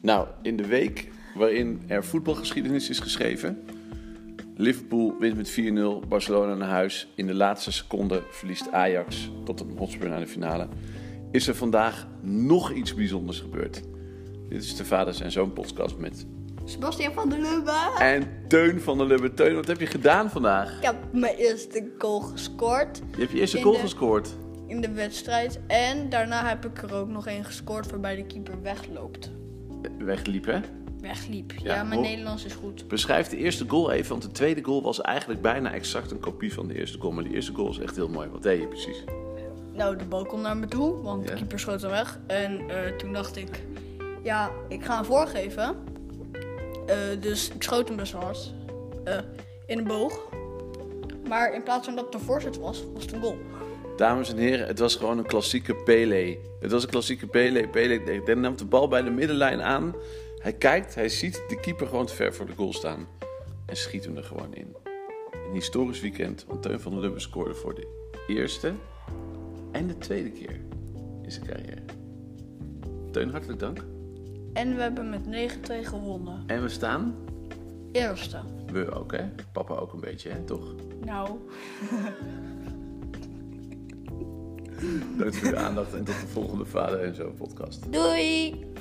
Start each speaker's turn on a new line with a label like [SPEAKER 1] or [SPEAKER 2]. [SPEAKER 1] Nou, in de week waarin er voetbalgeschiedenis is geschreven. Liverpool wint met 4-0, Barcelona naar huis. In de laatste seconde verliest Ajax tot een Hotspur naar de finale. Is er vandaag nog iets bijzonders gebeurd? Dit is de Vaders en Zoon podcast met
[SPEAKER 2] Sebastian van der Lubbe.
[SPEAKER 1] en Teun van der Lubbe. Teun, wat heb je gedaan vandaag?
[SPEAKER 2] Ik heb mijn eerste goal gescoord
[SPEAKER 1] Je hebt je eerste
[SPEAKER 2] In
[SPEAKER 1] goal
[SPEAKER 2] de-
[SPEAKER 1] gescoord.
[SPEAKER 2] in de wedstrijd. En daarna heb ik er ook nog één gescoord waarbij de keeper wegloopt.
[SPEAKER 1] Wegliep, hè?
[SPEAKER 2] Wegliep.
[SPEAKER 1] Ja,
[SPEAKER 2] Ja, mijn
[SPEAKER 1] hoor.
[SPEAKER 2] Nederlands is goed.
[SPEAKER 1] Beschrijf de eerste goal even, want de tweede goal was eigenlijk bijna exact een kopie van de eerste goal. Maar die eerste goal is echt heel mooi. Wat deed je precies?
[SPEAKER 2] Nou, de bal komt naar me toe, want
[SPEAKER 1] Ja.
[SPEAKER 2] de keeper schoot hem weg. En eh, toen dacht ik, ja, ik ga hem voorgeven. Eh, dus ik schoot hem dus hard. eh, in een boog. Maar in plaats van dat het een voorzet was, was het een goal.
[SPEAKER 1] Dames en heren, het was gewoon een klassieke Pele. Het was een klassieke Pele. Pele neemt de bal bij de middenlijn aan. Hij kijkt, hij ziet de keeper gewoon te ver voor de goal staan. En schiet hem er gewoon in. Een historisch weekend, want Teun van der Lubbe scoorde voor de eerste en de tweede keer in zijn carrière. Teun, hartelijk dank.
[SPEAKER 2] En we hebben met 9-2 gewonnen.
[SPEAKER 1] En we staan,
[SPEAKER 2] Eerste.
[SPEAKER 1] we ook hè, papa ook een beetje hè, toch?
[SPEAKER 2] Nou,
[SPEAKER 1] Dank voor uw aandacht en tot de volgende Vader en Zo podcast.
[SPEAKER 2] doei!